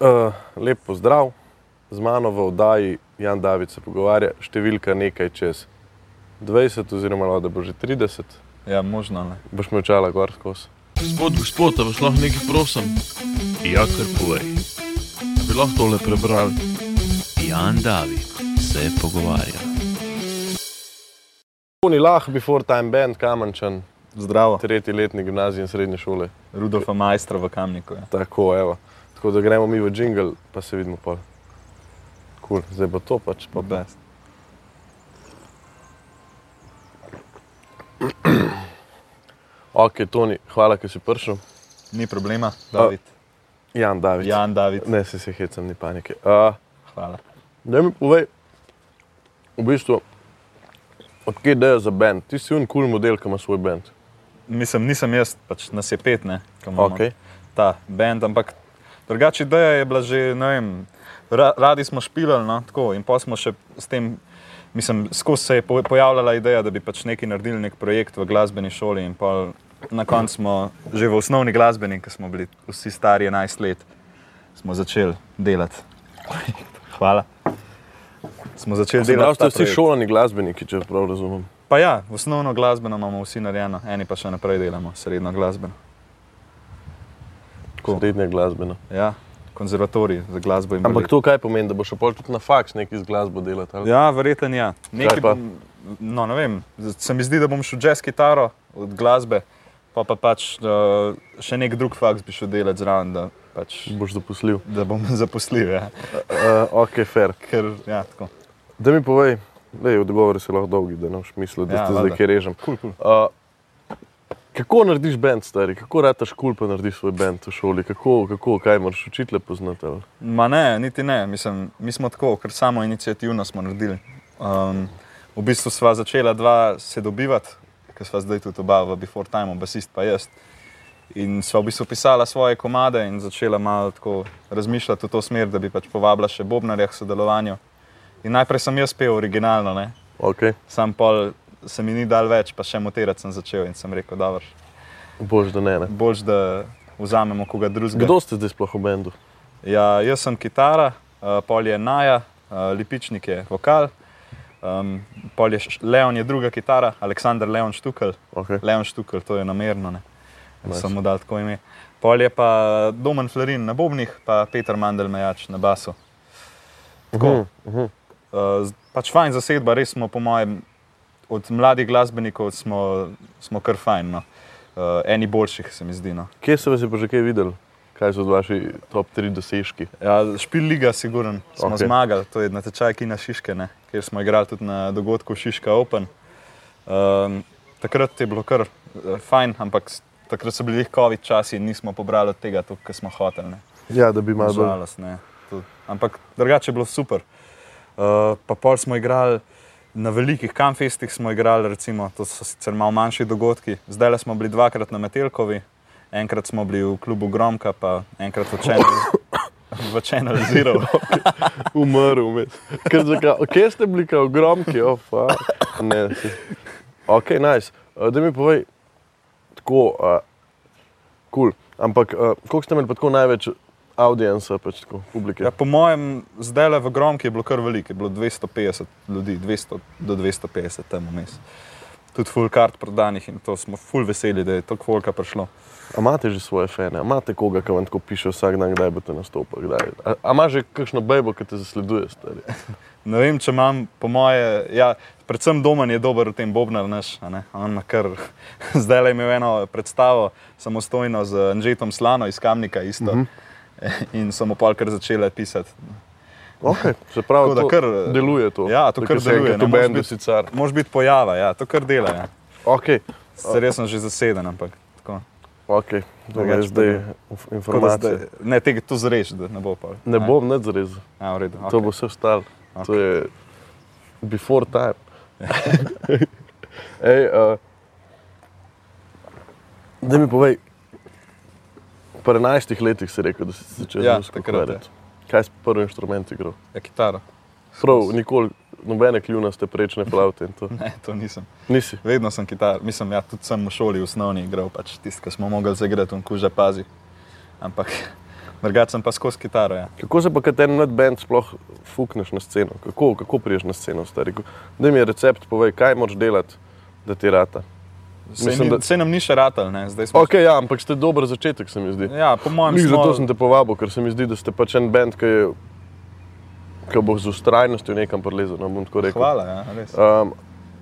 Uh, lep pozdrav, z mano v oddaji Jan David se pogovarja, številka nekaj čez 20, oziroma no, da bo že 30, Ja, možno ne. boš me očala gor skozi. Gospod, gospod, a vas lahko nekaj prosim? Ja, kar povej. A Bi lahko tole prebrali? Jan David se pogovarja. Toni Lah, Before Time Band, Kamenčan, Zdravo, tretji letnik gimnazije in srednje šole. Rudolfa Majstra v Kamniku. Ja. Tako, evo. Tako da gremo mi v jingle, pa se vidimo pol. Cool. Zdaj bo to pač. Pa pa. Best. Ok, Toni, hvala, ker si prišel. Ni problema, David. Jan David. Jan, David, Ne, se se hecam, ni panike. Uh, hvala. da mi povej, v bistvu, odkje ideja za bend? Ti si un kul cool model, ki ima svoj bend. Mislim, nisem jaz, pač nas je pet, ne, ki imamo Okay. ta bend, ampak drugače ideja je bila že, ne vem, ra, radi smo špilali, no, tako in pa smo še s tem, mislim, skozi se je po- pojavljala ideja, da bi pač nekaj naredili, nek projekt v glasbeni šoli in pa na koncu smo že v osnovni glasbeni, ki smo bili vsi stari 11 let, smo začeli delati. Hvala. Smo začeli Zdaj delati. ste ta vsi projekt. šolani glasbeniki, če prav razumem. Pa ja, osnovno glasbeno imamo vsi narejeno, eni pa še naprej delamo, srednjo glasbeno. Tako. Srednja glasbena. Ja, konzervatorij za glasbo in balet. Ampak to kaj pomeni, da bo še pol tudi na faks nekaj z glasbo delati? ali? Ja, verjeten ja. Nekaj, pa? bom- no, ne vem, z- se mi zdi, da bom šel jazz kitaro od glasbe, pa pa pač uh, še nek drug faks bi šel delati zraven, da, pač, Boš zaposlil. da bom zaposlil. Ja. Uh, ok, fair. Ker, ja, tako. Da mi povej, da je odgovor se lahko dolgi, da ne boš mislil, da Ja, ste zdaj valjda. kje režem. Cool, cool. Uh, kako narediš bend, stari? Kako rataš kul, pa narediš svoj bend v šoli? Kako, kako kaj moraš učitele poznati? ali? Ma ne, niti ne, mislim, mi smo tako, ker samo inicijativno smo naredili. Um, v bistvu sva začela dva se dobivati, ker sva zdaj tudi oba v Before Time, basist pa jaz. In sva v bistvu pisala svoje komade in začela malo tako razmišljati v to smer, da bi pač povabila še Bobnarja k sodelovanju. In najprej sem jaz pel originalno, ne? Okay. sam pol se mi ni dal več, pa še mutirati sem začel in sem rekel, da Bož, da ne. ne. boš, da vzamemo koga drugega. Kdo ste zdaj sploh v bendu? Ja, jaz sem kitara, uh, pol je Naja, uh, Lipičnik je vokal, um, pol je Š- Leon je druga kitara, Aleksandr Leon Štukel, Okay. Leon Štukel, to je namerno, ne. Nice. Nice. Samo da tako ime. Pol je pa eh, Domen Florin na bobnih, pa Peter Mandel Mejač na basu. Tako. Mhm, mhm. Uh, z- pač fajn zasedba, res smo, po mojem, od mladih glasbenikov smo, smo kar fajn. No. Uh, eni boljših, se mi zdi. No. Kje se vas je pa že kaj videl? Kaj so vaši top 3 dosežki? Ja, špil liga, siguren. Smo Ok. okay. zmagali, to je na tečaj Kina Šiške, ne? kjer smo igrali tudi na dogodku Šiška Open. Um, takrat je bilo kar eh, fajn, ampak s- takrat so bili COVID časi in nismo pobrali od tega, to, kar smo hoteli. ne. Ja, da bi malo bolj. Nažalost, ne. To- Ampak drugače je bilo super. Uh, pa pol smo igrali. Na velikih kamfestih smo igrali, recimo, to so sicer malo manjši dogodki. Zdaj smo bili dvakrat na Metelkovi, enkrat smo bili v klubu Gromka, pa enkrat v Channel- v Channel Zero. Umrl vmes. Ker zaka- Kje ste bili, kao gromki? Oh, fuck. ne. se- Ok, nice. Uh, Da mi povej, tako, kul. Uh, cool. Ampak uh, koliko ste imeli pa tako največ audienca, pač tako, publike? Ja, po mojem, zdaj le v Gromki je bilo kar veliko, je bilo 250 ljudi, 200 do 250 tam vmes. Tudi full kart prodanih in to smo full veseli, da je to kvolka prišlo. A imate že svoje fene, A imate koga, ki vam tako piše vsak dan, kdaj boste nastopili? kdaj? A- A imaš že kakšno bejbo, ki te zasleduje? Stari? Ne vem, če imam, po moje, ja, predvsem Domen je dober v tem bobnar naš. a ne. On ima kar zdaj le imel eno predstavo, samostojno z Anžetom Slano iz Kamnika isto. Mhm. Uh -huh. In samo pol kar začele pisati. Okay, se pravi, Tako da to kar, deluje no, to. ja, to kar deluje, To ne moreš bendi biti- sicer. Mož biti pojava, ja, to kar dela. Ja. Okay, Sicer jaz sem že zaseden, ampak tako. okay, to je Drugače zdaj pa inf- Tako da zdaj, informacija. ne, tega tu zreš, da ne bo pa. Ne bom nič zrezal, Ja, v redu. okay. Okay. to bo vse ostalo. Okay. To je before time. Ej, uh, da mi povej, po 11 letih si rekel, da si se začel Ja, z muziko takrat, ja. ukvarjati. Kaj si prvi inštrument igral? Ja, kitara. Prav, nikoli, nobene kljunaste prečne plavte in to. Ne, to nisem. Nisi. Vedno sem kitar, mislim, ja, tudi sem v šoli v osnovni igral, pač tisto, kar smo mogli zaigrati, on kuža pazi. Ampak Drugače sem pa skozi kitaro. Ja. Kako se pa kot en mlad bend sploh fukneš na sceno? Kako, kako priješ na sceno, stari? Da mi je recept, povej, kaj moraš delati, da ti rata. Sej, Mislim, ni, da- da... sej nam ni še ratal, ne? zdaj smo. Ok, ja, ampak ste dober začetek, se mi zdi. Ja, po mojem Glih, smo... Zato sem te povabil, ker se mi zdi, da ste pač en bend, ki, je- ki bo z ustrajnostjo nekam prelezel. No, bom tako rekel. Hvala, ja, res. Um,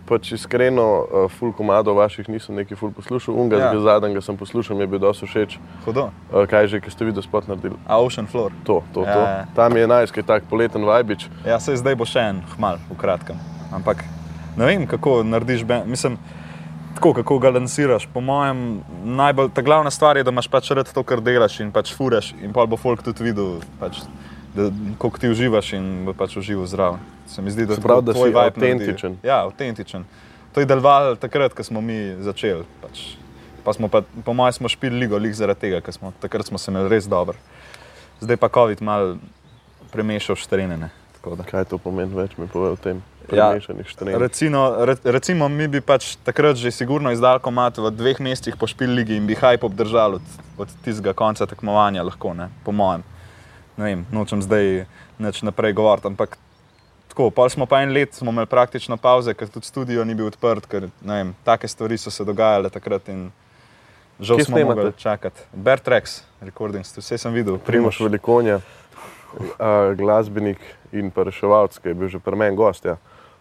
pač iskreno, uh, full komadov vaših nisem neki full poslušal, unga Ja. ja. zadnjega sem poslušal, mi je bil dosti všeč, Hudo. uh, kaj že, ki ste vi do spot naredili. A ocean floor. To, to, Ja, to. ja. Tam je najskaj tak poleten vajbič. Ja, sej zdaj bo še en, hmal, v kratkem. Ampak ne vem, kako narediš, ben, mislim, tako kako ga lansiraš. Po mojem, najbolj ta glavna stvar je, da imaš pač rad to, kar delaš in pač furaš in pa bo folk tudi videl, pač, da, koliko ti uživaš in bo pač užival zraven. Se mi zdi, da, Se pravi, tako da tvoj si vibe naredi. avtentičen. Ja, avtentičen. To je delovalo takrat, ko smo mi začeli. Pač. Pa smo pa, po mojem, smo špili ligo, lih zaradi tega, ker smo takrat smo se imeli res dobro. Zdaj pa COVID mal premešal štrenene. tako da. Kaj to pomeni, več mi pove o tem. Ja. Premešanih štrenjih. Recino, re, recimo, mi bi pač takrat že sigurno izdal komat v dveh mestih po špiligi in bi hype obdržal od, od tistega konca tekmovanja, lahko, ne? po mojem. Ne vem, nočem zdaj nič naprej govoriti, ampak tako, pol smo pa en let, smo imeli praktično pauze, ker tudi studio ni bil odprt, ker ne vem, take stvari so se dogajale takrat in žal Kje smo snemate? mogli čakati. Bertrex, recordings, vse sem videl, Primoš primoš. Velikonja, a, glasbenik in pa reševalc, ki je bil že pri meni gost. Ja.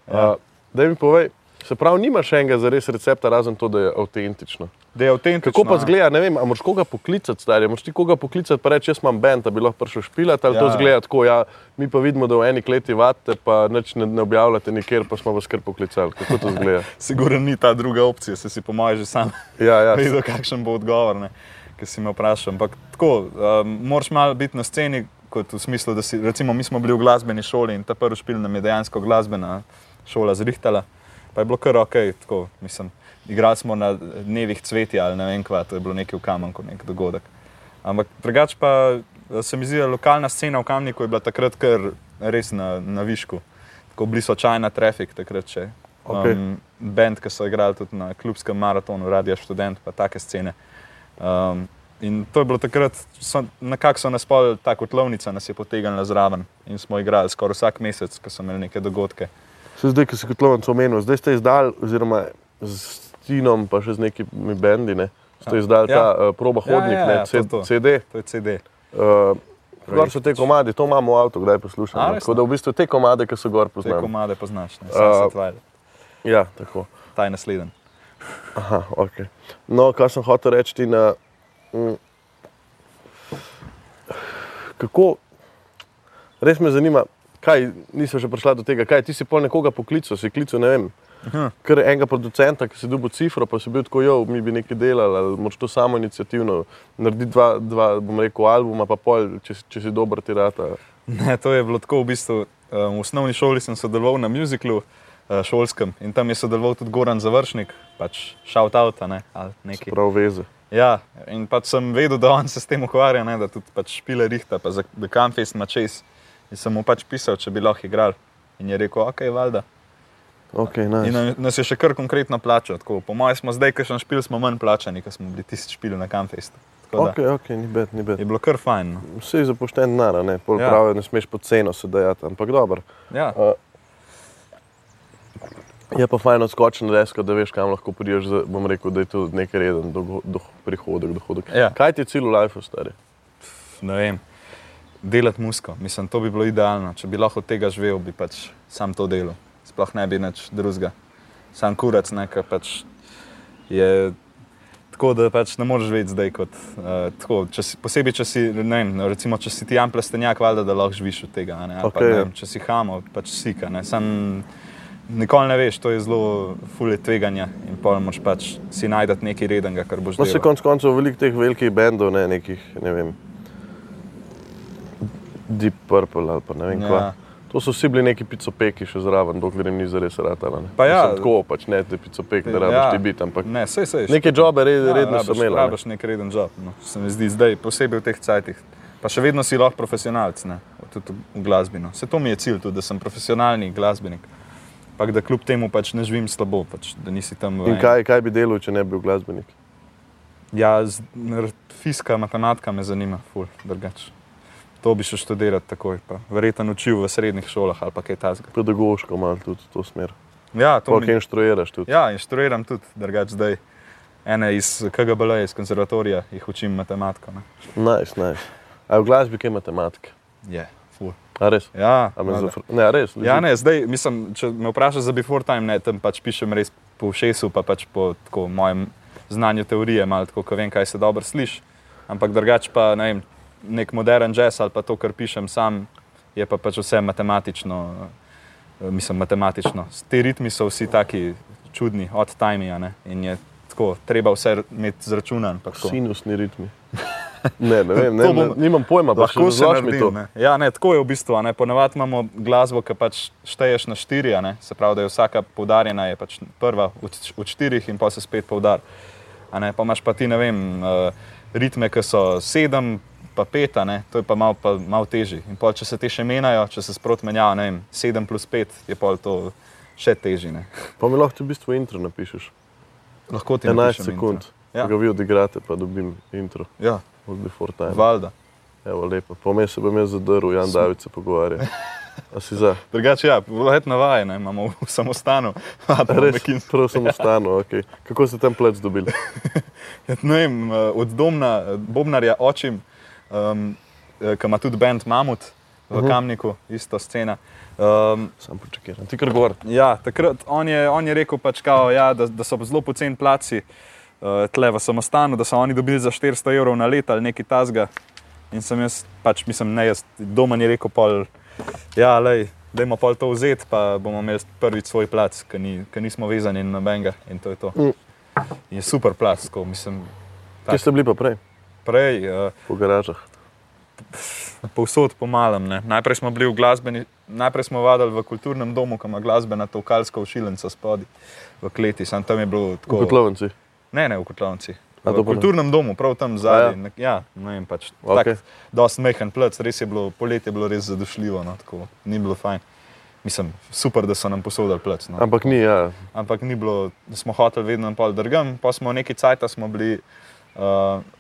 Ja. Da mi povej, se pravi, nimaš enega za res recepta, razen to, da je avtentično. Da je avtentično. Kako pa ja. zgleda, ne vem, a moraš koga poklicati, stari, moraš ti koga poklicati, pa reči, jaz imam bend, da bi lahko prišel špilat, ali ja. to Ja. zgleda tako, ja, mi pa vidimo, da v eni kleti vate, pa nič ne, ne objavljate nikjer, pa smo vas kar poklicali. Kako to zgleda? Sigurno ni ta druga opcija, se si po mojem že sam Ja, ja. videl, kakšen bo odgovor, ne, ki si me vprašal. Ampak tako, um, moraš malo biti na sceni, kot v smislu, da si, recimo, mi smo bili v glasbeni šoli in ta prvi špil nam je dejansko glasbena šola zrihtala, pa je bilo kar ok, tako, mislim, igrali smo na dnevih cvetja ali ne vem kva, to je bilo nekaj v kamenku, nek dogodek. Ampak drugače pa eh, se mi zdi, da lokalna scena v Kamniku je bila takrat kar res na, na višku. Tako bili so čajna trafik takrat še. Okej. Um, bend, ki so igrali tudi na klubskem maratonu, radio študent, pa take scene. Um, in to je bilo takrat, so- nekako so nas pol, ta kotlovnica nas je potegnila zraven in smo igrali skoraj vsak mesec, ko so imeli neke dogodke. Se zdaj, ki si kot lovec omenil, zdaj ste izdali, oziroma s Tinom, pa še z nekimi bendi, ne? ste izdali ja. ta uh, proba Ja, hodnik, ja, ja, ja, ja, ne, C to, to. CD. To je CD. Uh, gor so te komadi, to imamo v avtu, kdaj poslušamo. A, no. resno? Tako da v bistvu te komade, ki so gor Te poznamo. komade poznaš, ne? Eh, Sunset Valley, Ja, tako. ta je nasleden. Aha, ok. No, kar sem hotel reči ti na... Mm, kako... Res me zanima, kaj, nisem še prišla do tega, kaj ti si pol nekoga poklical, si klical, ne vem, Aha. kar enega producenta, ki si dobil cifro, pa si bil tako, jo, mi bi nekaj delali, ali moraš to samo inicijativno, naredi dva, dva, bom rekel, albuma, pa pol, če, si- če si dober, ti rata. Ne, to je bilo tako v bistvu. em, V osnovni šoli sem sodeloval na muziklu eh, šolskem in tam je sodeloval tudi Goran Završnik, pač shout out ne, ali nekaj. Prav veze. Ja, in pač sem vedel, da on se s tem ukvarja, ne, da tudi pač špile rihta, pa za The Campfest ima čez. In sem mu pač pisal, če bi lahko igral. In je rekel, ok, valjda. Okay, In nice. nam- nas je še kar konkretno plačal. Tako, po mojem smo zdaj, ker sem špil, smo manj plačani, ker smo bili tisti špil na Campfestu. Tako da Ok, ok, ni bed, ni bed. je bilo kar fajn. no. Vsi zapošteni nara, ne, pol Ja. ja. pravijo, ne smeš po ceno se dajati, ampak dobro. Ja, Je pa fajn odskočen desko, da veš, kam lahko priješ. z- Bom rekel, da je to nek reden do, do, prihodek, dohodek. Ja. Kaj ti je cilj v lifeu, stari? ne vem. Delati musko, mislim, to bi bilo idealno. Če bi lahko od tega živel, bi pač sam to delal. Sploh ne bi nič drugega. Sam kurac, nekaj pač je tako, da pač ne moreš živeti zdaj. Kot, uh, tako, če si, posebej, če si, ne vem, no, recimo, če si ti jan plastenjak, valjda, da lahko živiš od tega. a Ne? Ali Pa, Okej. ne vem, če si hamo, pač sika. Ne? Sam nikoli ne veš, to je zelo fulje tveganja in pol moraš pač si najdati nekaj redenga, kar boš No, se delal. konc koncev veliko teh velikih bendov, ne nekih, ne vem, Deep Purple ali pa ne vem ja. kva. Ja. To so vsi bili neki picopeki še zraven, dokler jim ni zares ratala. Ne? Pa ja. Mislim, tako pač ne, te picopek, da rabiš ja. ti biti, ampak Ne, sej, sej, neke džobe red, ja, redno rabiš- so imeli. Rabiš nek reden job, no. se mi zdi zdaj, posebej v teh cajtih. Pa še vedno si lahko profesionalc, ne? tudi v glasbi. No. Se to mi je cilj, tudi, da sem profesionalni glasbenik. Ampak da kljub temu pač ne živim slabo, pač, da nisi tam v. In enem- kaj, kaj bi delal, če ne bi bil glasbenik? Ja, z, r- fizika, matematika me zanima, ful, drugače. To bi šel študirati takoj, pa verjetno učil v srednjih šolah ali pa kaj takega. Pedagoško malo tudi v to smer. Ja, to To, mi, ki inštruiraš tudi. ja, inštruiram tudi, drugač zdaj. Ene iz KGB, iz konzervatorija, jih učim matematiko. ne. Najs, nice, najs. Nice. A v glasbi kaj matematike? Je, ful. A res? Ja, A me valjda. zafr... Ne, a res. ja, legit? ne, zdaj, mislim, če me vprašaš za before time, ne, tam pač pišem res po všesu, pa pač po tako, mojem znanju teorije, malo tako, ko vem, kaj se dobro sliši. Ampak drugače pa ne vem, nek modern jazz ali pa to, kar pišem sam, je pa pač vse matematično, eh, mislim, matematično. S- Ti ritmi so vsi taki čudni, od timija ne, in je tako, treba vse imeti zračunan. pa tako. Sinusni ritmi. Ne, ne vem, ne, To ne, bom- nimam pojma, pa še Lahko se razloži mi naredi. to. Ne. Ja, ne, tako je v bistvu. a ne. Ponavadi imamo glasbo, ki pač šteješ na štiri, a ne. se pravi, da je vsaka poudarjena, je pač prva od, č- od štirih in pa se spet poudar. A Ne, pa imaš pa ti, ne vem, eh, ritme, ki so sedem, pa pet, a ne, to je pa malo pa, mal težje. In pol, če se te še menjajo, če se sprot menjajo, ne vem, sedem plus pet, je pol to še težje. ne. Pa mi lahko ti v bistvu intro napišeš. Lahko ti 11 napišem sekund. intro. Ja. Ja. Ga vi odigrate, pa dobim intro Ja, od Before Time. valjda. Evo, lepo. Pomej se bom jaz zadrl, Jan David se pogovarja. A si za? Drugače, ja, verjetno vaje, ne, imamo v samostanu, ali Res, pa nekje prav sem v Ja. stanu, okay. Kako ste tam plec dobili? Ne vem, eh, od Domna, eh, Bobnarja, očim, um, ki ima tudi bend Mamut v uh -huh. Kamniku, isto scena. Um, Sam počakaj, ti kar govor. ja, takrat on je, on je rekel, pač, kao, ja, da, da so zelo poceni placi uh, tle v samostanu, da so oni dobili za 400 evrov na leto ali nekaj tasga. In sem jaz, pač mislim, ne jaz, Domen je rekel, pol, ja, lej, dajmo pol to vzeti, pa bomo imeli prvič svoj plac, ker ni, ker nismo vezani na benga. In to je to. Mm. In je super plac, tako mislim. Kje ste bili pa prej? Prej, uh, Po garažah. povsod po malem. Ne. Najprej smo bili v glasbeni, najprej smo vadili v kulturnem domu, ki ima glasbena tokalska ušilenca spodaj v kleti, sam tam je bilo V tako. Kotlovnici. Ne, ne v Kotlovnici. A, to V pa ne. kulturnem domu, prav tam A ja. zadaj. Ja. ja, ne vem, pač. Okej. Okay. Dost mehen plec, res je bilo, poletje je bilo res zadušljivo, no, tako, ni bilo fajn. Mislim, super, da so nam posodili plec. No Ampak ni, ja. ampak ni bilo, smo hoteli vedno pol drgem. Pa smo neki cajt, smo bili uh,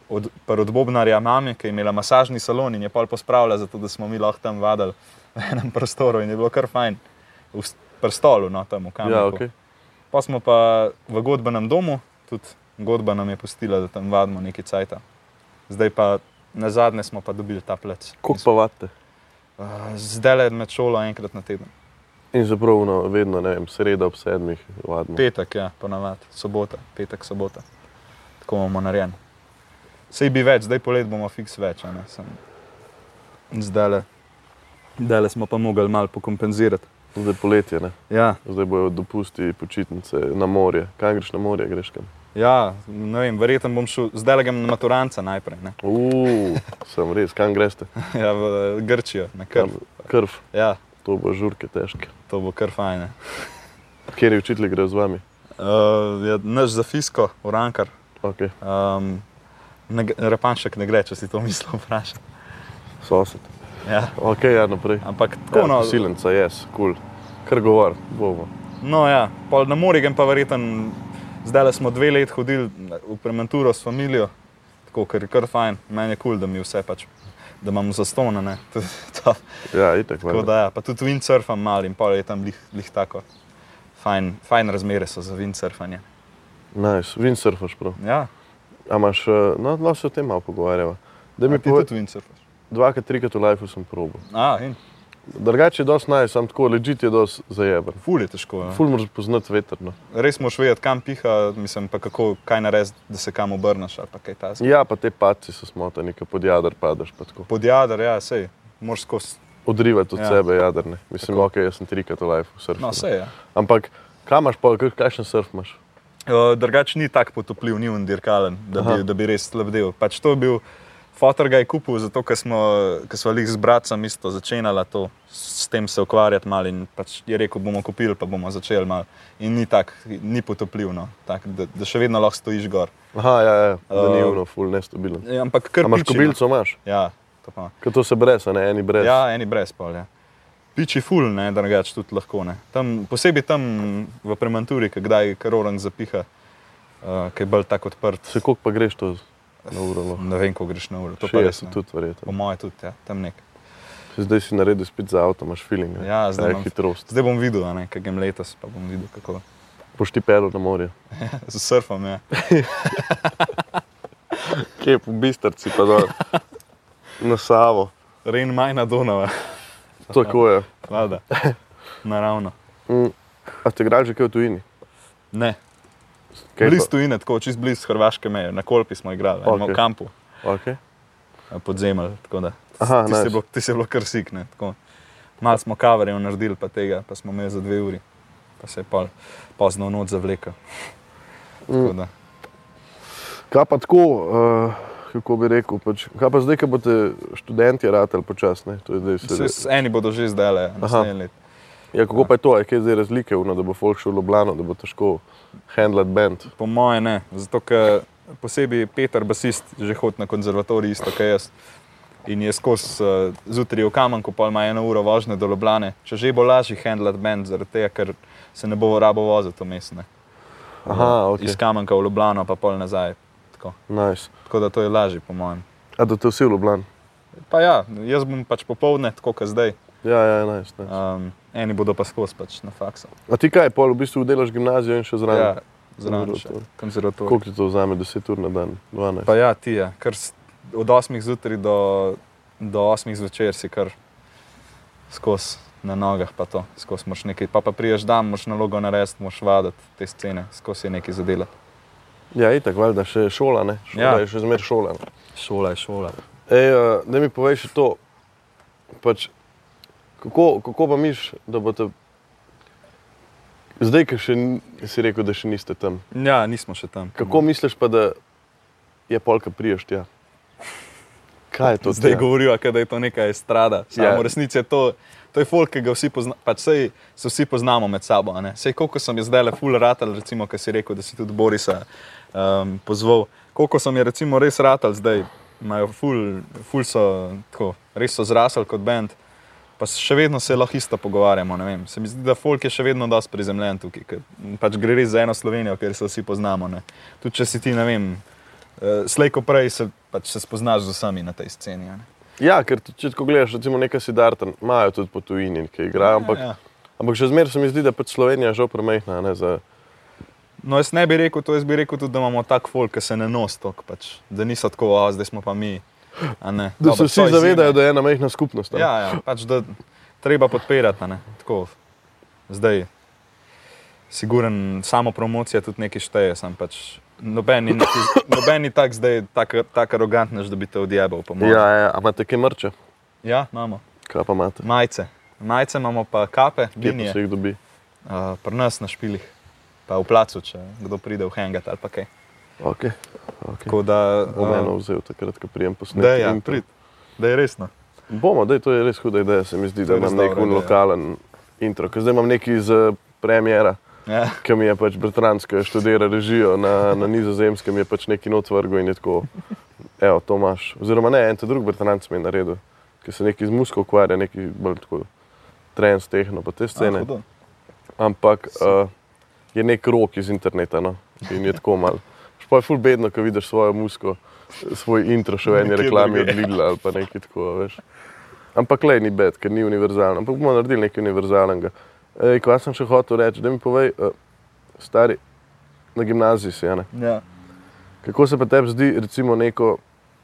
od, pri od Bobnarja mame, ki je imela masažni salon in je pol pospravila, zato da smo mi lahko tam vadili v enem prostoru in je bilo kar fajn, v s- pri stolu, no tam v kamnu. Ja, ok. Pa smo pa v godbenem domu, tudi godba nam je pustila, da tam vadimo neki cajt. Zdaj pa na zadnje smo pa dobili ta plec. Koliko pa vate? Zdaj le med šolo enkrat na teden. In zapravno, vedno, ne vem, sreda ob sedmih, vadno. Petek, ja, ponavadi, sobota, petek, sobota. Tako bomo narejeni. Sej bi več, zdaj polet bomo fiks več, a ne sem. Zdaj le smo pa mogli malo pokompenzirati. Zdaj poletje, ne? Ja, Zdaj bojo dopusti, počitnice na morje. Kaj greš na morje, greš kam? ja, ne vem, verjetno bom šel, zdaj le grem na maturanca najprej, ne. Uuu, sem res, kam greš? Ja, v Grčijo, na krv. Krv, Ja, to bo žurke težke. to bo kar fajn. Kjer je učitelj gre z vami? Uh, ja, naš za fisko, urankar. Ok, Um, ne, g- Repanšek ne gre, če si to mislil vprašati. sosed. Ja, Ok, ja, naprej. ampak tako, Ja, no, Silenca, jaz, kul. Cool. Kar govor, bomo. No, ja, pol na Morigen pa verjeten, zdaj le smo dve leti hodili v Premanturo s familijo, tako ker je kar fajn, meni je kul, cool, da mi vse pač, da imam zastonane. Ja, itak, tako valjda. da ja, pa tudi windsurfam mal in pol je tam lih, lih tako. Fajn, fajn razmere so za windsurfanje. Najs, nice. windsurfaš prav. Ja, A imaš, eh, no, no se o tem malo pogovarjava. Da mi mi ti poveš, tudi windsurfaš. dvakrat, trikrat v lifeu sem probil. A, in Drugače je dosti najs, sam tako, ležite je dosti zajeben. ful je težko. Ja. Ful moraš poznati no. veterno. Res moraš vedeti, kam piha, mislim pa kako, kaj narediti, da se kam obrneš ali pa kaj ta. Ja, pa te paci so smotani, ko pod jadr padeš. pa tako. Podjadar, ja, sej, moraš skozi. Odrivati od Ja. ja. sebe jadrne. Mislim, ok, jaz sem trikrat v lifeu surfal. No, sej, ja. Ampak kam imaš pa, kak- kakšen surf imaš? Uh, Drugač ni tako potopljiv, ni undirkalen, da bi, Aha. da bi res slabdel. Pač to je bil fotor, ga je kupil, zato ker smo, ker smo lih z bratom isto začenjala to, s tem se ukvarjati malo in pač je rekel, bomo kupili, pa bomo začeli malo. In ni tako, ni potopljiv, no, tak, da, da še vedno lahko stojiš gor. Aha, ja, ja, da ni Uh, ono, ful nestabilen. E, ampak kar A imaš piči, no. kobilico, imaš? Ja, to pa. Ker to se brez, a ne eni brez. Ja, eni brez polja. Piči ful, ne, drugače tudi lahko ne. Tam, posebej tam v premanturi, ki kdaj karorang zapiha, uh, ki je bolj tako odprt. Se koliko pa greš to z- na uro? Ne vem, ko greš na uro, to pa res no. Šest ne. tudi verjetno. Po mojem, tudi ja, tam nekaj. Zdaj si naredil spet za avto, imaš feeling. ne? Ja, zdaj Ta je imam- hitrost. Zdaj bom videl, a ne, kaj grem letos, pa bom videl, kako Boš ti pel na morje. z surfom. Ja. Kje po bistrci, pa dol. Na Savo. Rain Majna Donava, Tako je. vlada, naravno. Mm. A ste igrali že kaj v tujini? Ne, Kaj blizu tujine, tako čist blizu hrvaške meje, na Kolpi smo igrali, okay. Okej. v kampu, pa- Okay. podzemelj. tako da. Aha, Ti nice. si bil, ti si bil kar sik, ne. Tako. Malo smo kaverjev naredili, pa tega, pa smo imeli za dve uri, pa se je pol, pozno v noč zavlekel. Mm. Tako da. Kaj pa tako, uh, kako bi rekel, pač, kaj pa zdaj, ko boste študenti ratali počasne? Se, s- eni bodo že zdaj, naslednje leto. Ja, kako pa je to, a je kaj zdaj razlike, uno, da bo folk šel v Ljubljano, da bo težko handlat band? Po moje ne, zato ker posebej Peter, basist, že hodi na konzervatorij, isto kot jaz. In je skozi uh, zjutraj v Kamenku, pa ima eno uro vožnje do Ljubljana. Če že bo lažje handlat bend, zaradi tega, ker se ne bo rabo vozil to mestne. Aha, ok, Iz Kamenka v Ljubljano, pa pol nazaj. Tako. nice. tako da to je lažje, po mojem. A da ste vsi v Ljubljani? Pa ja, jaz bom pač popovdne, tako kot zdaj. Ja, ja, nice, nice. Um, eni bodo pa skozi pač na faksu. A ti kaj, pol v bistvu delaš gimnazijo in še Ja, zraven? zraven še Konzervatorij. konzervatorij. Koliko ti to vzame, 10 ur na dan? 12. Pa ja, ti je, kar s- od 8 zjutraj do, do 8 zvečer si kar skozi na nogah, pa to, skozi moš nekaj. Pa, pa priješ dan, moš nalogo narediti, moš vaditi te scene, skozi je nekaj zadela. Ja, itak, valjda, še šola, ne? Šola Ja. ja. je še zmer šola. Ne? Šola je šola. Ej, eh, da mi povej še to, pač, kako, kako pa miš, da bo te... Zdaj, ki še ni- si rekel, da še niste tam, Ja, nismo še tam. kako misliš pa, da je polka priješ tja? Kaj je to? Zdaj tja? govorijo, da je to neka estrada. Samo Ja. yeah. v resnici je to, to je folk, ki ga vsi poznamo, pač sej se vsi poznamo med sabo. a ne. Sej koliko sem jaz zdaj le full ratal, recimo, ki si rekel, da si tudi Borisa um, pozval. Koliko sem je recimo res ratal zdaj, imajo full, full so, tako, res so zrasli kot bend. Pa s- še vedno se lahko isto pogovarjamo. ne vem. Se mi zdi, da folk je še vedno dosti prizemljen tukaj, ker m, pač gre res za eno Slovenijo, ker se vsi poznamo. ne. Tudi če si ti, ne vem, eh, slej ko prej se, pač se spoznaš z vsemi na tej sceni. a ne. Ja, ker tudi če tako gledaš, recimo nekaj sidartan, imajo tudi po tujini, ki igrajo, ampak, Ja, ja. ampak še zmer se mi zdi, da pač Slovenija je žal premajhna, ne, za, No, jaz ne bi rekel to, jaz bi rekel tudi, da imamo tak folk, ki se ne nosi tok, pač. da niso tako, a zdaj smo pa mi. a ne." da Dobro, se so vsi izjeme. zavedajo, da je ena majhna skupnost. a ne. Ja, ja, pač da treba podpirati. a Ne? Tako, zdaj, siguren, samo promocija tudi nekaj šteje, sem pač. Noben ni, neki- noben ni tak, zdaj tako tak arogantnež, da bi te odjebal. po mojem. Ja, ja, a imate kaj mrče? ja, imamo. Kaj pa imate? Majice. Majice imamo pa kape, Kje pa linije. se jih dobi? Uh, pri nas na špilih, pa v placu, če kdo pride v hengat ali pa kaj. Okay. Okay. Tako da, Bom eh, eno vzel takrat, ko prijem posnetek. da, ja, in to. prid, da je resno. Bomo, da to je res huda ideja, se mi zdi, To da je res imam nek dobra un ideja. lokalen intro. Ker zdaj imam neki iz eh, premjera, Ja. ki mi je pač Bratranc, ki študira režijo na, na nizozemskem, je pač neki not vrgo in je tako, evo, to imaš. Oziroma ne, en te drug Bratranc mi je naredil, ki se neki z musko ukvarja, neki bolj tako trends, tehno, pa te scene. A, hudo. ampak uh, je nek rok iz interneta no? in je tako mal. Še pa je ful bedno, ko vidiš svojo musko, svoj intro še v eni Nekje reklami drugje. od Lidla ali pa nekaj tako, a veš. Ampak le ni bed, ker ni univerzalen, ampak bomo naredili nekaj univerzalnega. Ej, kaj sem še hotel reči, da mi povej, uh, stari, na gimnaziji si, a ne? Ja. Kako se pa tebi zdi, recimo, neko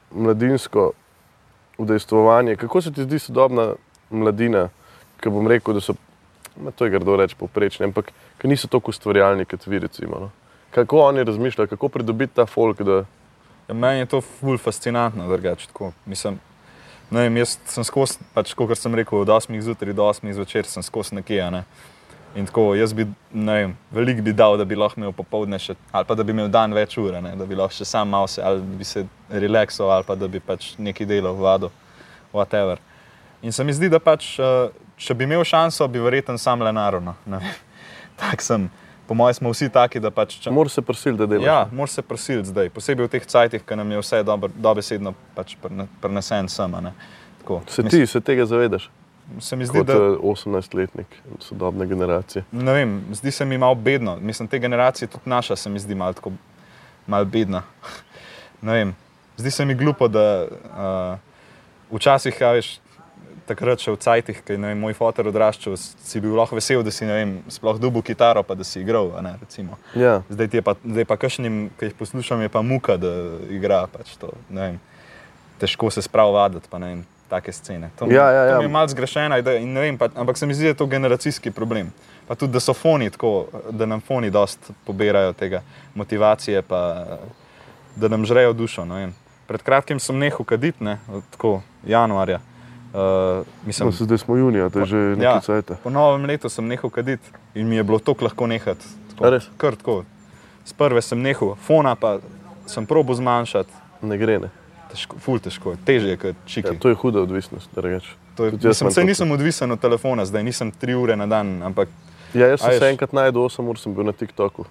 mladinsko udejstvovanje? Kako se ti zdi sodobna mladina, ki bom rekel, da so, ma, to je grdo reči, poprečni, ampak ki niso tako ustvarjalni kot vi, recimo. No? Kako oni razmišljajo, kako pridobiti ta folk, da Ja, meni je to ful fascinantno, drugače. tako. Mislim, ne vem, jaz sem skozi, pač, kot sem rekel, od 8 zjutraj do 8 zvečer sem skozi nekje. a Ne? In tako, jaz bi, ne vem, veliko bi dal, da bi lahko imel popovdne še, ali pa da bi imel dan več ur, a ne, da bi lahko še sam malo se, ali bi se relaksoval, ali pa da bi pač neki delo vado, whatever. In se mi zdi, da pač, eh, če bi imel šanso, bi verjetno sam le narodno. Tak sem, po mojem smo vsi taki, da pač, če, moraš se prisiliti, da delaš. Ja, moraš se prisiliti zdaj, posebej v teh cajtih, ki nam je vse dobro- dobesedno pač prene- prenesen sem. a ne. Tako, Se mislim, ti, se tega zavedaš, Se mi zdi, kot da eh, 18-letnik sodobne generacije. ne vem, zdi se mi malo bedno. Mislim, te generacije, tudi naša, se mi zdi malo, tako, malo bedna. Ne vem, zdi se mi glupo, da uh, včasih, eh, a veš, takrat še v Cajtih, ki je ne vem, moj fotor odraščal, s- si bil lahko vesel, da si ne vem, sploh dubu kitaro, pa da si igral. a Ne, recimo. Ja. zdaj ti je pa, zdaj pa kašnim, ki jih poslušam, je pa muka, da igra. Pač to, ne vem, težko se spravljati, pa ne vem, take scene. To, mi- Ja, ja, to ja. mi je malce zgrešena ideja, in ne vem, pa, ampak se mi zdi, da je to generacijski problem. Pa tudi, da so foni tako, da nam foni dost pobirajo tega motivacije, pa da nam žrejo dušo. ne vem. Pred kratkim sem nehal kaditi, ne, tako januarja. Uh, mislim, No, se zdaj smo junija, to je že nekaj ja. cajta. Po novem letu sem nehal kaditi in mi je bilo tako lahko nehati. A Tako, res? kar tako. Sprve sem nehal, fona pa sem probo zmanjšati. Ne gre, ne. Težko, ful težko, težje kot čiki. Ja, to je huda odvisnost, da rečeš. To je, tudi jaz mislim, imam se to. nisem odvisen od telefona, zdaj nisem tri ure na dan, ampak Ja, jaz A sem veš. se enkrat najdel 8 ur, sem bil na TikToku.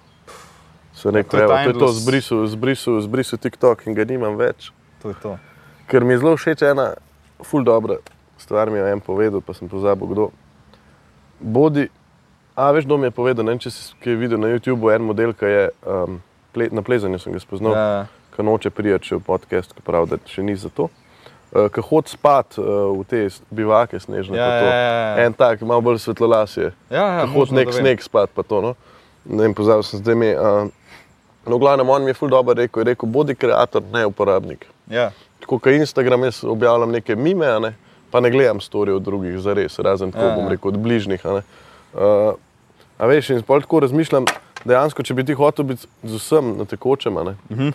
Se Ja, to rekel, je evo, to je to, timeless. zbrisal, zbrisal, zbrisal TikTok in ga nimam več. to je to. Ker mi je zelo všeč ena ful dobra stvar, mi jo je en povedal, pa sem pozabil kdo. Bodi, a veš, kdo mi je povedal, ne vem, če si kaj videl na YouTubu, en model, ki je um, ple, na plezanju sem ga spoznal, ja. Ja, ki noče prijeti še v podcast, ki pravi, da še ni za to. Uh, ki hod spat uh, v te s- bivake snežne. Ja, pa to. ja, ja, ja. En tak, malo bolj svetlolasje. ja, ja, Hod možno, da nek vem. sneg spat, pa to. No? Ne vem, pozabil sem zdaj mi. Uh, no, v glavnem, on mi je ful dobro rekel, je rekel, bodi kreator, ne uporabnik. Ja, Tako kot Instagram, jaz objavljam neke mime, a ne? pa ne gledam storijev drugih, za res, razen tako Ja, bom ja. rekel, od bližnjih. A, ne. uh, a veš, in sploh tako razmišljam, dejansko, če bi ti hotel biti z vsem na tekočem, a ne, uh -huh.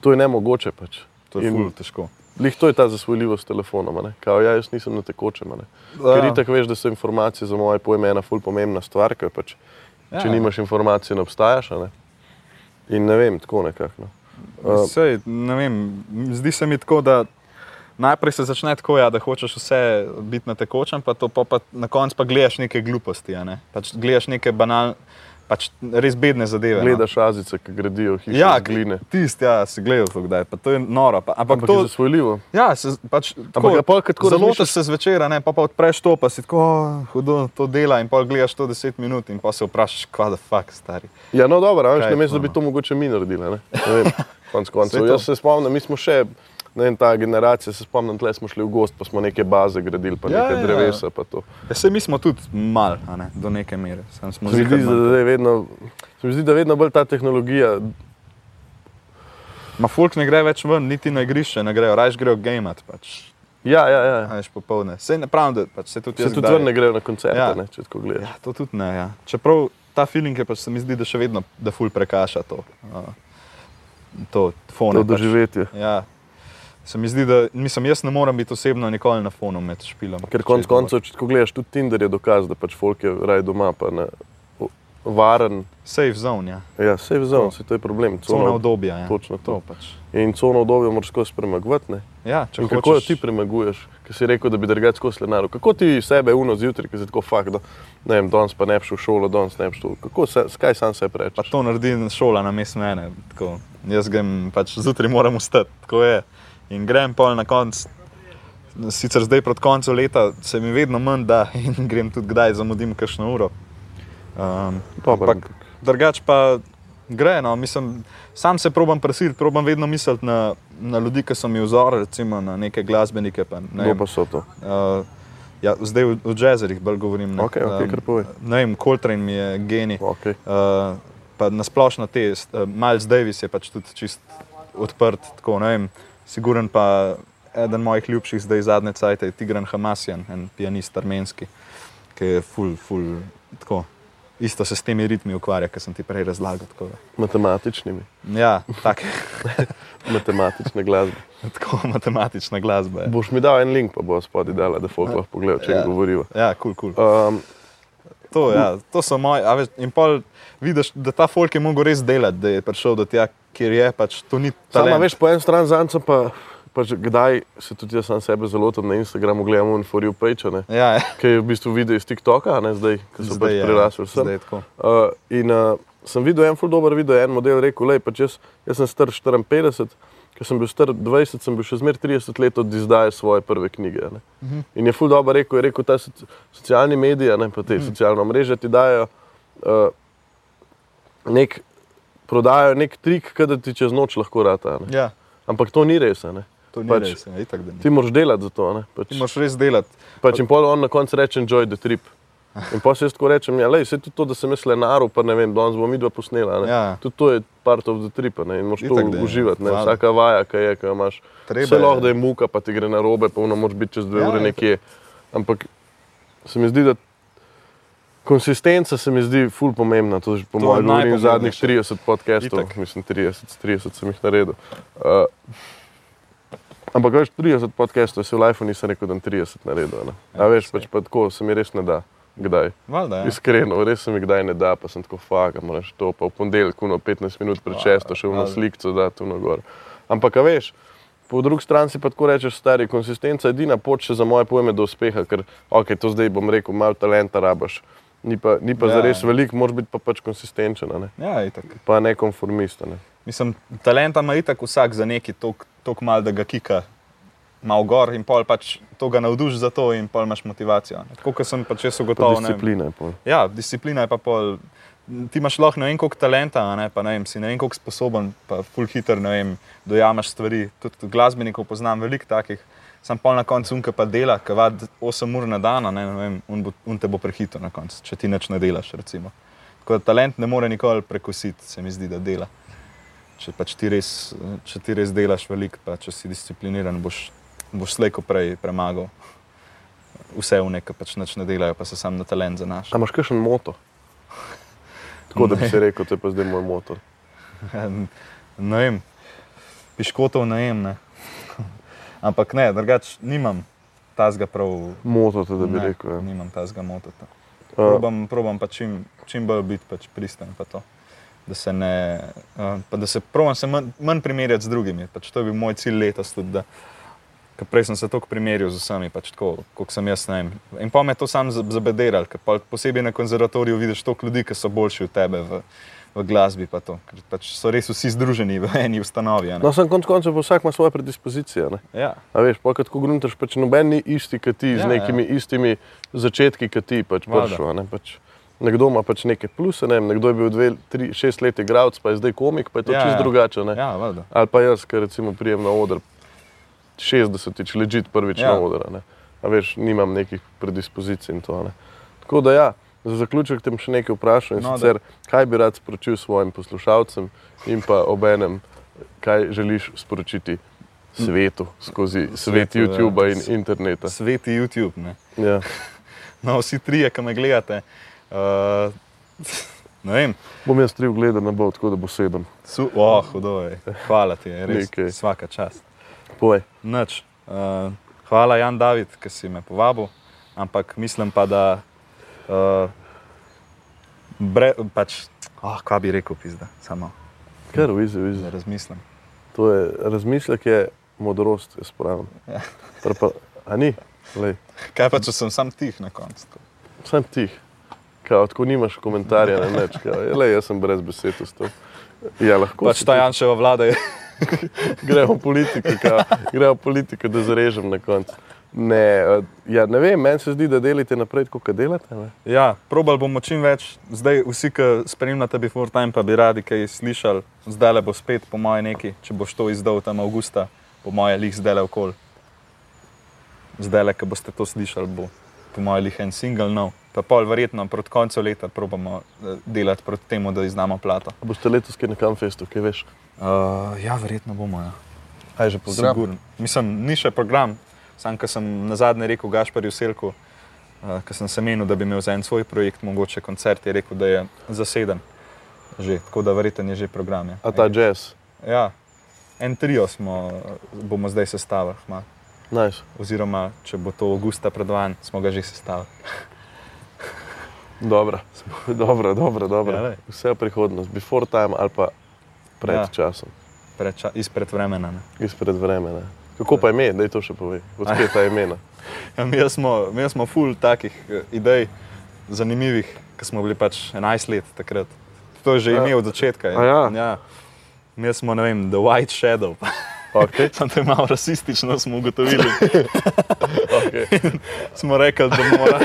to je nemogoče pač. Mhm. to je In ful težko. Lih to je ta zasvojljivost s telefonom, a ne? kao ja, jaz nisem na tekočem. a ne. Ja. Ker itak veš, da so informacije za moje pojme ena ful pomembna stvar, ker pač, če Ja. nimaš informacij, ne obstajaš. a Ne? In ne vem, tako nekako. No. Uh, Sej, ne vem, zdi se mi tako, da najprej se začne tako, ja, da hočeš vse biti na tekočem, pa, to pa, pa na koncu pa gledaš neke gluposti. a Ne? Pač gledaš neke banalne, pač res bedne zadeve. Gledaš azice, ki gradijo no. hiše ja, iz gline. Tisti, ja, si gledal to kdaj, pa to je noro. Pa, ampak, Ampak to je zasvojljivo. Ja, se, pač, tako, ga pol, ko tako zalotiš razmišljaš- se zvečer, a ne, pa, pa odpreš to, pa si tako "O, hudo to dela in pa gledaš to 10 minut in pa se vprašaš, kva da fuk, stari. Ja, no, dobro, a veš, Kaj je namesto da bi ono? to mogoče mi naredili. ne. Ne vem, Konec Saj koncev. to. Jaz se spomnim, mi smo še, ne vem, ta generacija, se spomnim, tle smo šli v gost, pa smo neke baze gradili, pa Ja, neke ja. drevesa. Pa to. Ja, se mi smo tudi mal, a ne, do neke mere. Samo smo se, mi ziher zdi, da, malo. zdaj vedno, se mi zdi, da vedno bolj ta tehnologija Ma folk ne gre več ven, niti na igrišče ne grejo, raje grejo gamat, pač, Ja, ja, ja. ajš popovdne. Sej ne pravim, da pač, se tudi Se jaz tudi kdaj- vrne grejo na koncerte, Ja. ja. ne, če tako gledaš. Ja, to tudi ne, ja. Čeprav ta feeling je pač se mi zdi, da še vedno, da ful prekaša to, uh, to Ja, fone. to doživetje. Pač. Ja. Se mi zdi, da mislim, jaz ne morem biti osebno nikoli na fonu med špilom. Ker konec koncev, če tako gledaš, tudi Tinder je dokaz, da pač folk je raje doma, pa ne o- varen. pač Safe zone, ja. Ja, vse je vzal, To. vse to je problem. Cona Cona obdobja. obdobja, ja. Točno to. to pač. In cono obdobje moraš skozi premagovati. ne. Ja, če In Kako jo hočeš, ti premaguješ, ki si rekel, da bi drugače skozi lenaro? Kako ti sebe uno zjutraj, ki si tako fakt, da ne vem, danes pa ne bi šel v šolo, danes ne bi šel. Kako, se, skaj sam se Pa preveč? to naredi šola na mestu mene. Tako, jaz grem, pač zjutraj moram vstati, tako je. In grem pol na konc. Sicer zdaj proti koncu leta se mi vedno manj da in grem tudi kdaj zamudim kakšno uro. Um, ampak drugač pa gre. No, mislim, sam se probam presiliti, probam vedno misliti na, na ljudi, ki so mi vzor, recimo na neke glasbenike. Pa, ne Kdo vem, pa so to? uh, ja, zdaj o, o jazzerih bolj govorim. ne. Okej, okej, Um, kar povej. Ne vem, Coltrane mi je genij. Okay. Uh, pa nasplošno te, s- eh, Miles Davis je pač tudi čist odprt, tako ne vem. Siguren pa eden mojih ljubših zdaj zadnje cajt je Tigran Hamasjan, en pianist armenski, ki je full, full, tako. Isto se s temi ritmi ukvarja, ki sem ti prej razlagal. tako da. Matematičnimi, Ja, tak, matematične glasbe. tako matematična glasba. Je. Boš mi dal en link, pa bo spodaj dala, da folk lahko pogleda, če Ja. ja. govoriva. Ja, kul, cool, kul. Cool. Um, To, ja, to so moji. a Veš, in pol vidiš, da ta folk je mogel res delati, da je prišel do tja, kjer je. Pač, to ni sama talent. veš, po eni strani zanj sem pa, pa že kdaj se tudi jaz sam sebe zelo tam na Instagramu gledamo in forijo pejčane, Ja, ja. ki je v bistvu video iz TikToka, a ne zdaj, ki so pač ja, prerasli vse. zdaj je tako. Uh, in uh, sem videl en ful dober video, en model rekel, lej, pač jaz, jaz sem star 54, ker sem bil star 20, sem bil še zmer 30 let od izdaje svoje prve knjige. a ne. Mhm. In je ful dober rekel, je rekel, ta soci- socialni mediji, a ne pa te Mhm. socialna mreža ti dajo uh, nek, prodajo nek trik, ki da ti čez noč lahko rata. a ne. Ja, Ampak to ni res. a ne. To ni Pač- pač, res, ne, itak, da ni. Ti moraš delati za to. ne, Pač. Ti moraš res delati. Pač in pol on na koncu reče: Enjoy the trip. In pa se jaz tako rečem, ja, lej, vse to, da sem jaz le naru, pa ne vem, danes bomo midva posnela. Ja. Ja, Tudi to je part of the trip, a ne, in moraš to Itak, da je. uživati. Ne? Hvala. Vsaka vaja, ki je, ki jo imaš. treba Vse je. lahko, da je muka, pa ti gre na robe, pa ono moraš biti čez dve Ja, ja, ure itak. nekje. Ampak se mi zdi, da konsistenca se mi zdi ful pomembna. To že po To je mojem govorim najpomembnejše. zadnjih 30 podcastov, Itak. Itak. mislim 30, s 30 sem jih naredil. Uh, ampak veš, 30 podcastov, jaz si v lifeu nisem rekel, da bom 30 naredil. Ne? A Ja, veš, saj. pač pa tako se mi res ne da. Kdaj? valjda. Ja. Iskreno, res se mi kdaj ne da, pa sem tako faka, moraš to, pa v ponedeljek, no 15 minut pred Ja, šesto, še vno ali- slikco da tu na gor. Ampak, a veš, po drugi strani si pa tako rečeš, stari, konsistenca je edina pot še za moje pojme do uspeha, ker, ok, to zdaj bom rekel, malo talenta rabaš, ni pa, ni pa Ja. ja. zares velik, moraš biti pa pač konsistenčen, a ne? Ja, itak. pa ne konformist. a Ne? Mislim, talenta ima itak vsak za neki tok mal, da ga kika malo gor in pol pač to ga navduš za to in pol imaš motivacijo. ne. Tako kot sem pač jaz Pa ugotovil. ne vem, disciplina je pol. Ja, disciplina je pa pol. Ti imaš lahko ne vem koliko talenta, a ne, pa ne vem, si ne vem koliko sposoben, pa full hitter, ne vem, dojamaš stvari. Tudi glasbenikov poznam veliko takih, sem pol na koncu unka pa dela, ki vad 8 ur na dan, a ne, ne vem, un, bo, un te bo prehitil na koncu, če ti nič ne delaš, recimo. Tako da talent ne more nikoli prekositi, se mi zdi, da dela. Če, pač ti, res, če ti res delaš veliko, pa če si discipliniran, boš, boš slejko prej premagal vse vne, ki pač nič ne delajo, pa se sam na talent zanašajo. A imaš kakšen moto? Tako da bi si rekel, to je pa zdaj moj motor. Ne vem, piškotov ne vem. Ne. Ampak ne, drugač nimam tazga prav. Moto, to da bi ne, rekel. ja. Nimam tazga motota. A, Probam, probam pa čim, čim bolj biti pač pristen. Pa to. da se ne, eh, pa da se probam se manj, manj primerjati z drugimi. Pač to je bil moj cilj letos tudi. Da, ker prej sem se tako primerjal z vsemi, pač tako, kot sem jaz. ne vem. In pa me je to sam zabederal, ker pol posebej na konzervatoriju vidiš toliko ljudi, ki so boljši od tebe v, v glasbi. Pa to, ker pač so res vsi združeni v eni ustanovi. a ne. No, sem konec koncev, pa vsak ima svoje predispozicije. a Ne? Ja, A veš, pa kot gruntaš, pač noben ni isti, kot ti, ja, Ja, z nekimi ja. istimi začetki, kot ti pač Valjda. prišel. a Ne? Pač, nekdo ima pač neke pluse, ne? vem, nekdo je bil dve, tri, šest let igralec, pa je zdaj komik, pa je to ja, Ja, čisto ja. drugače. Ja. ja valjda. Ali pa jaz, ki recimo prijem na oder 60-tič, ležit prvič ja. na Ja. oder. a ne. A veš, nimam nekih predispozicij in to. a Ne? Tako da ja, za zaključek tem še nekaj vprašal in no, No, da. sicer, kaj bi rad sporočil svojim poslušalcem in pa obenem, kaj želiš sporočiti svetu skozi svet Svetu, ja. YouTuba in interneta. Sveti YouTube. Ne. Ja. No, vsi trije, ki me gledate. Uh, ne vem, Bom jaz tri ogledal, ne bo tako, da bo sedem. Su, oh, hudo je. Hvala ti, je res. Nekaj. Vsaka čast. Povej. Nič. Uh, hvala, Jan David, ki si me povabil, ampak mislim pa, da. Uh, bre, pač, oh, kaj bi rekel, pizda, samo Kar vizi, vizi. da razmislim. To je razmislek, je modrost, jaz pravim. Ja. Pri Pa, a ni, lej. Kaj pa, če sem sam tih na koncu? sem tih. Kao, tako nimaš komentarja na nič. Kao, je, lej, jaz sem brez besed ustal. Ja, lahko. Pač si ta ti- Janševa vlada je. Gremo v politiko, kao, gremo v politiko, da zrežem na koncu. Ne, eh, ja, ne vem, meni se zdi, da delite naprej, kot da delate. Ne? Ja, probal bomo čim več. Zdaj, vsi, ki spremljate Before Time, pa bi radi kaj slišali. Zdaj le bo spet, po moje, neki, če boš to izdal tam avgusta, po moje, lih zdaj le okol. Zdaj le, ki boste to slišali, bo po moje, lih en single nov. Pa pol verjetno proti koncu leta probamo eh, delati proti temu, da izdamo plato. A Boste letos kaj na kamfestu, kaj veš? Uh, ja, verjetno bomo. Ja. Aj že Sigurno. Mislim, ni še program. Sam, ki sem na zadnje rekel Gašparju Selku, uh, ki sem se menil, da bi imel za en svoj projekt, mogoče koncert, je rekel, da je zaseden. Že, tako da verjeten je že program. Je. A ta jazz, Ja, en trio smo, bomo zdaj sestavili. hma. nice. Oziroma, če bo to avgusta predvan, smo ga že sestavili. Dobro, dobro, dobro. dobro. Ja, lej. Vse je prihodnost, before time ali pa pred ja. Ja. časom, Preča, izpred vremena. Ne. izpred vremena. Kako pa ime, da je to še povej, odkje ta imena. Ja, mi smo, mi smo full takih eh, idej, zanimivih, ki smo bili pač 11 let takrat. To je že Ja. ime od začetka. je. A ja? Ja. Mi smo, ne vem, The White Shadow, pa Okay. sem to malo rasistično smo ugotovili. Okay. smo rekli, da mora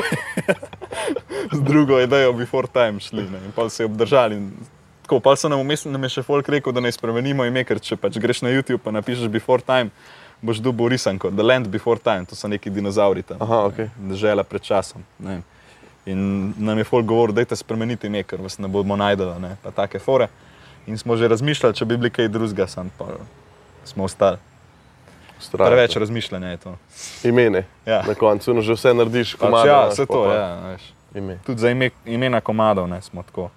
z drugo idejo Before Time šli. Ne? In pa se obdržali. in Tako, pa so nam vmes nam je še folk rekel, da ne spremenimo ime, ker če pač greš na YouTube in napišeš Before Time, boš dobil risanko, The Land Before Time, to so neki dinozauri tam, Aha, okej. držela pred časom. ne vem. In nam je folk govoril, da je spremeniti ime, ker vas ne bomo najdela, ne, pa take fore. In smo že razmišljali, če bi bili kaj drugega, sam pa smo ostali. Strašno. Preveč razmišljanja je to. Imene. Ja. Na koncu no, že vse narediš, Pač, komade, ja, imaš vse pa to, pa ja, veš. Ime. Tudi za ime, imena komadov ne, smo tako.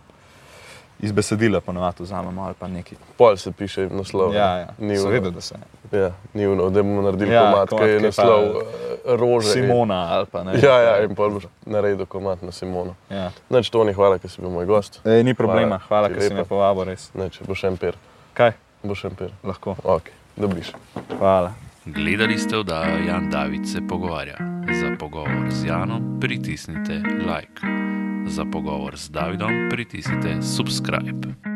Iz besedila ponovadi vzamemo ali pa nekaj. Pol se piše naslov. Ja, ja. Ni Seveda, uno, da se ne. ja, ni uno, da bomo naredili Ja, ja, komat, komad, ki je ki pa- naslov uh, Rože. Simona ali pa ne. Ja, ja, in pol boš naredil komat na Simono. ja. Neč, Toni, hvala, ker si bil moj gost. Ej, ni problema, Hvala, hvala, ti ker si lepa. me povabil, res. Neč, boš empir. Kaj? Boš empir. Lahko. Ok, dobiš. Hvala. Gledali ste oddajo Jan David se pogovarja. Za pogovor z Janom pritisnite like. Za pogovor z Davidom pritisnite subscribe.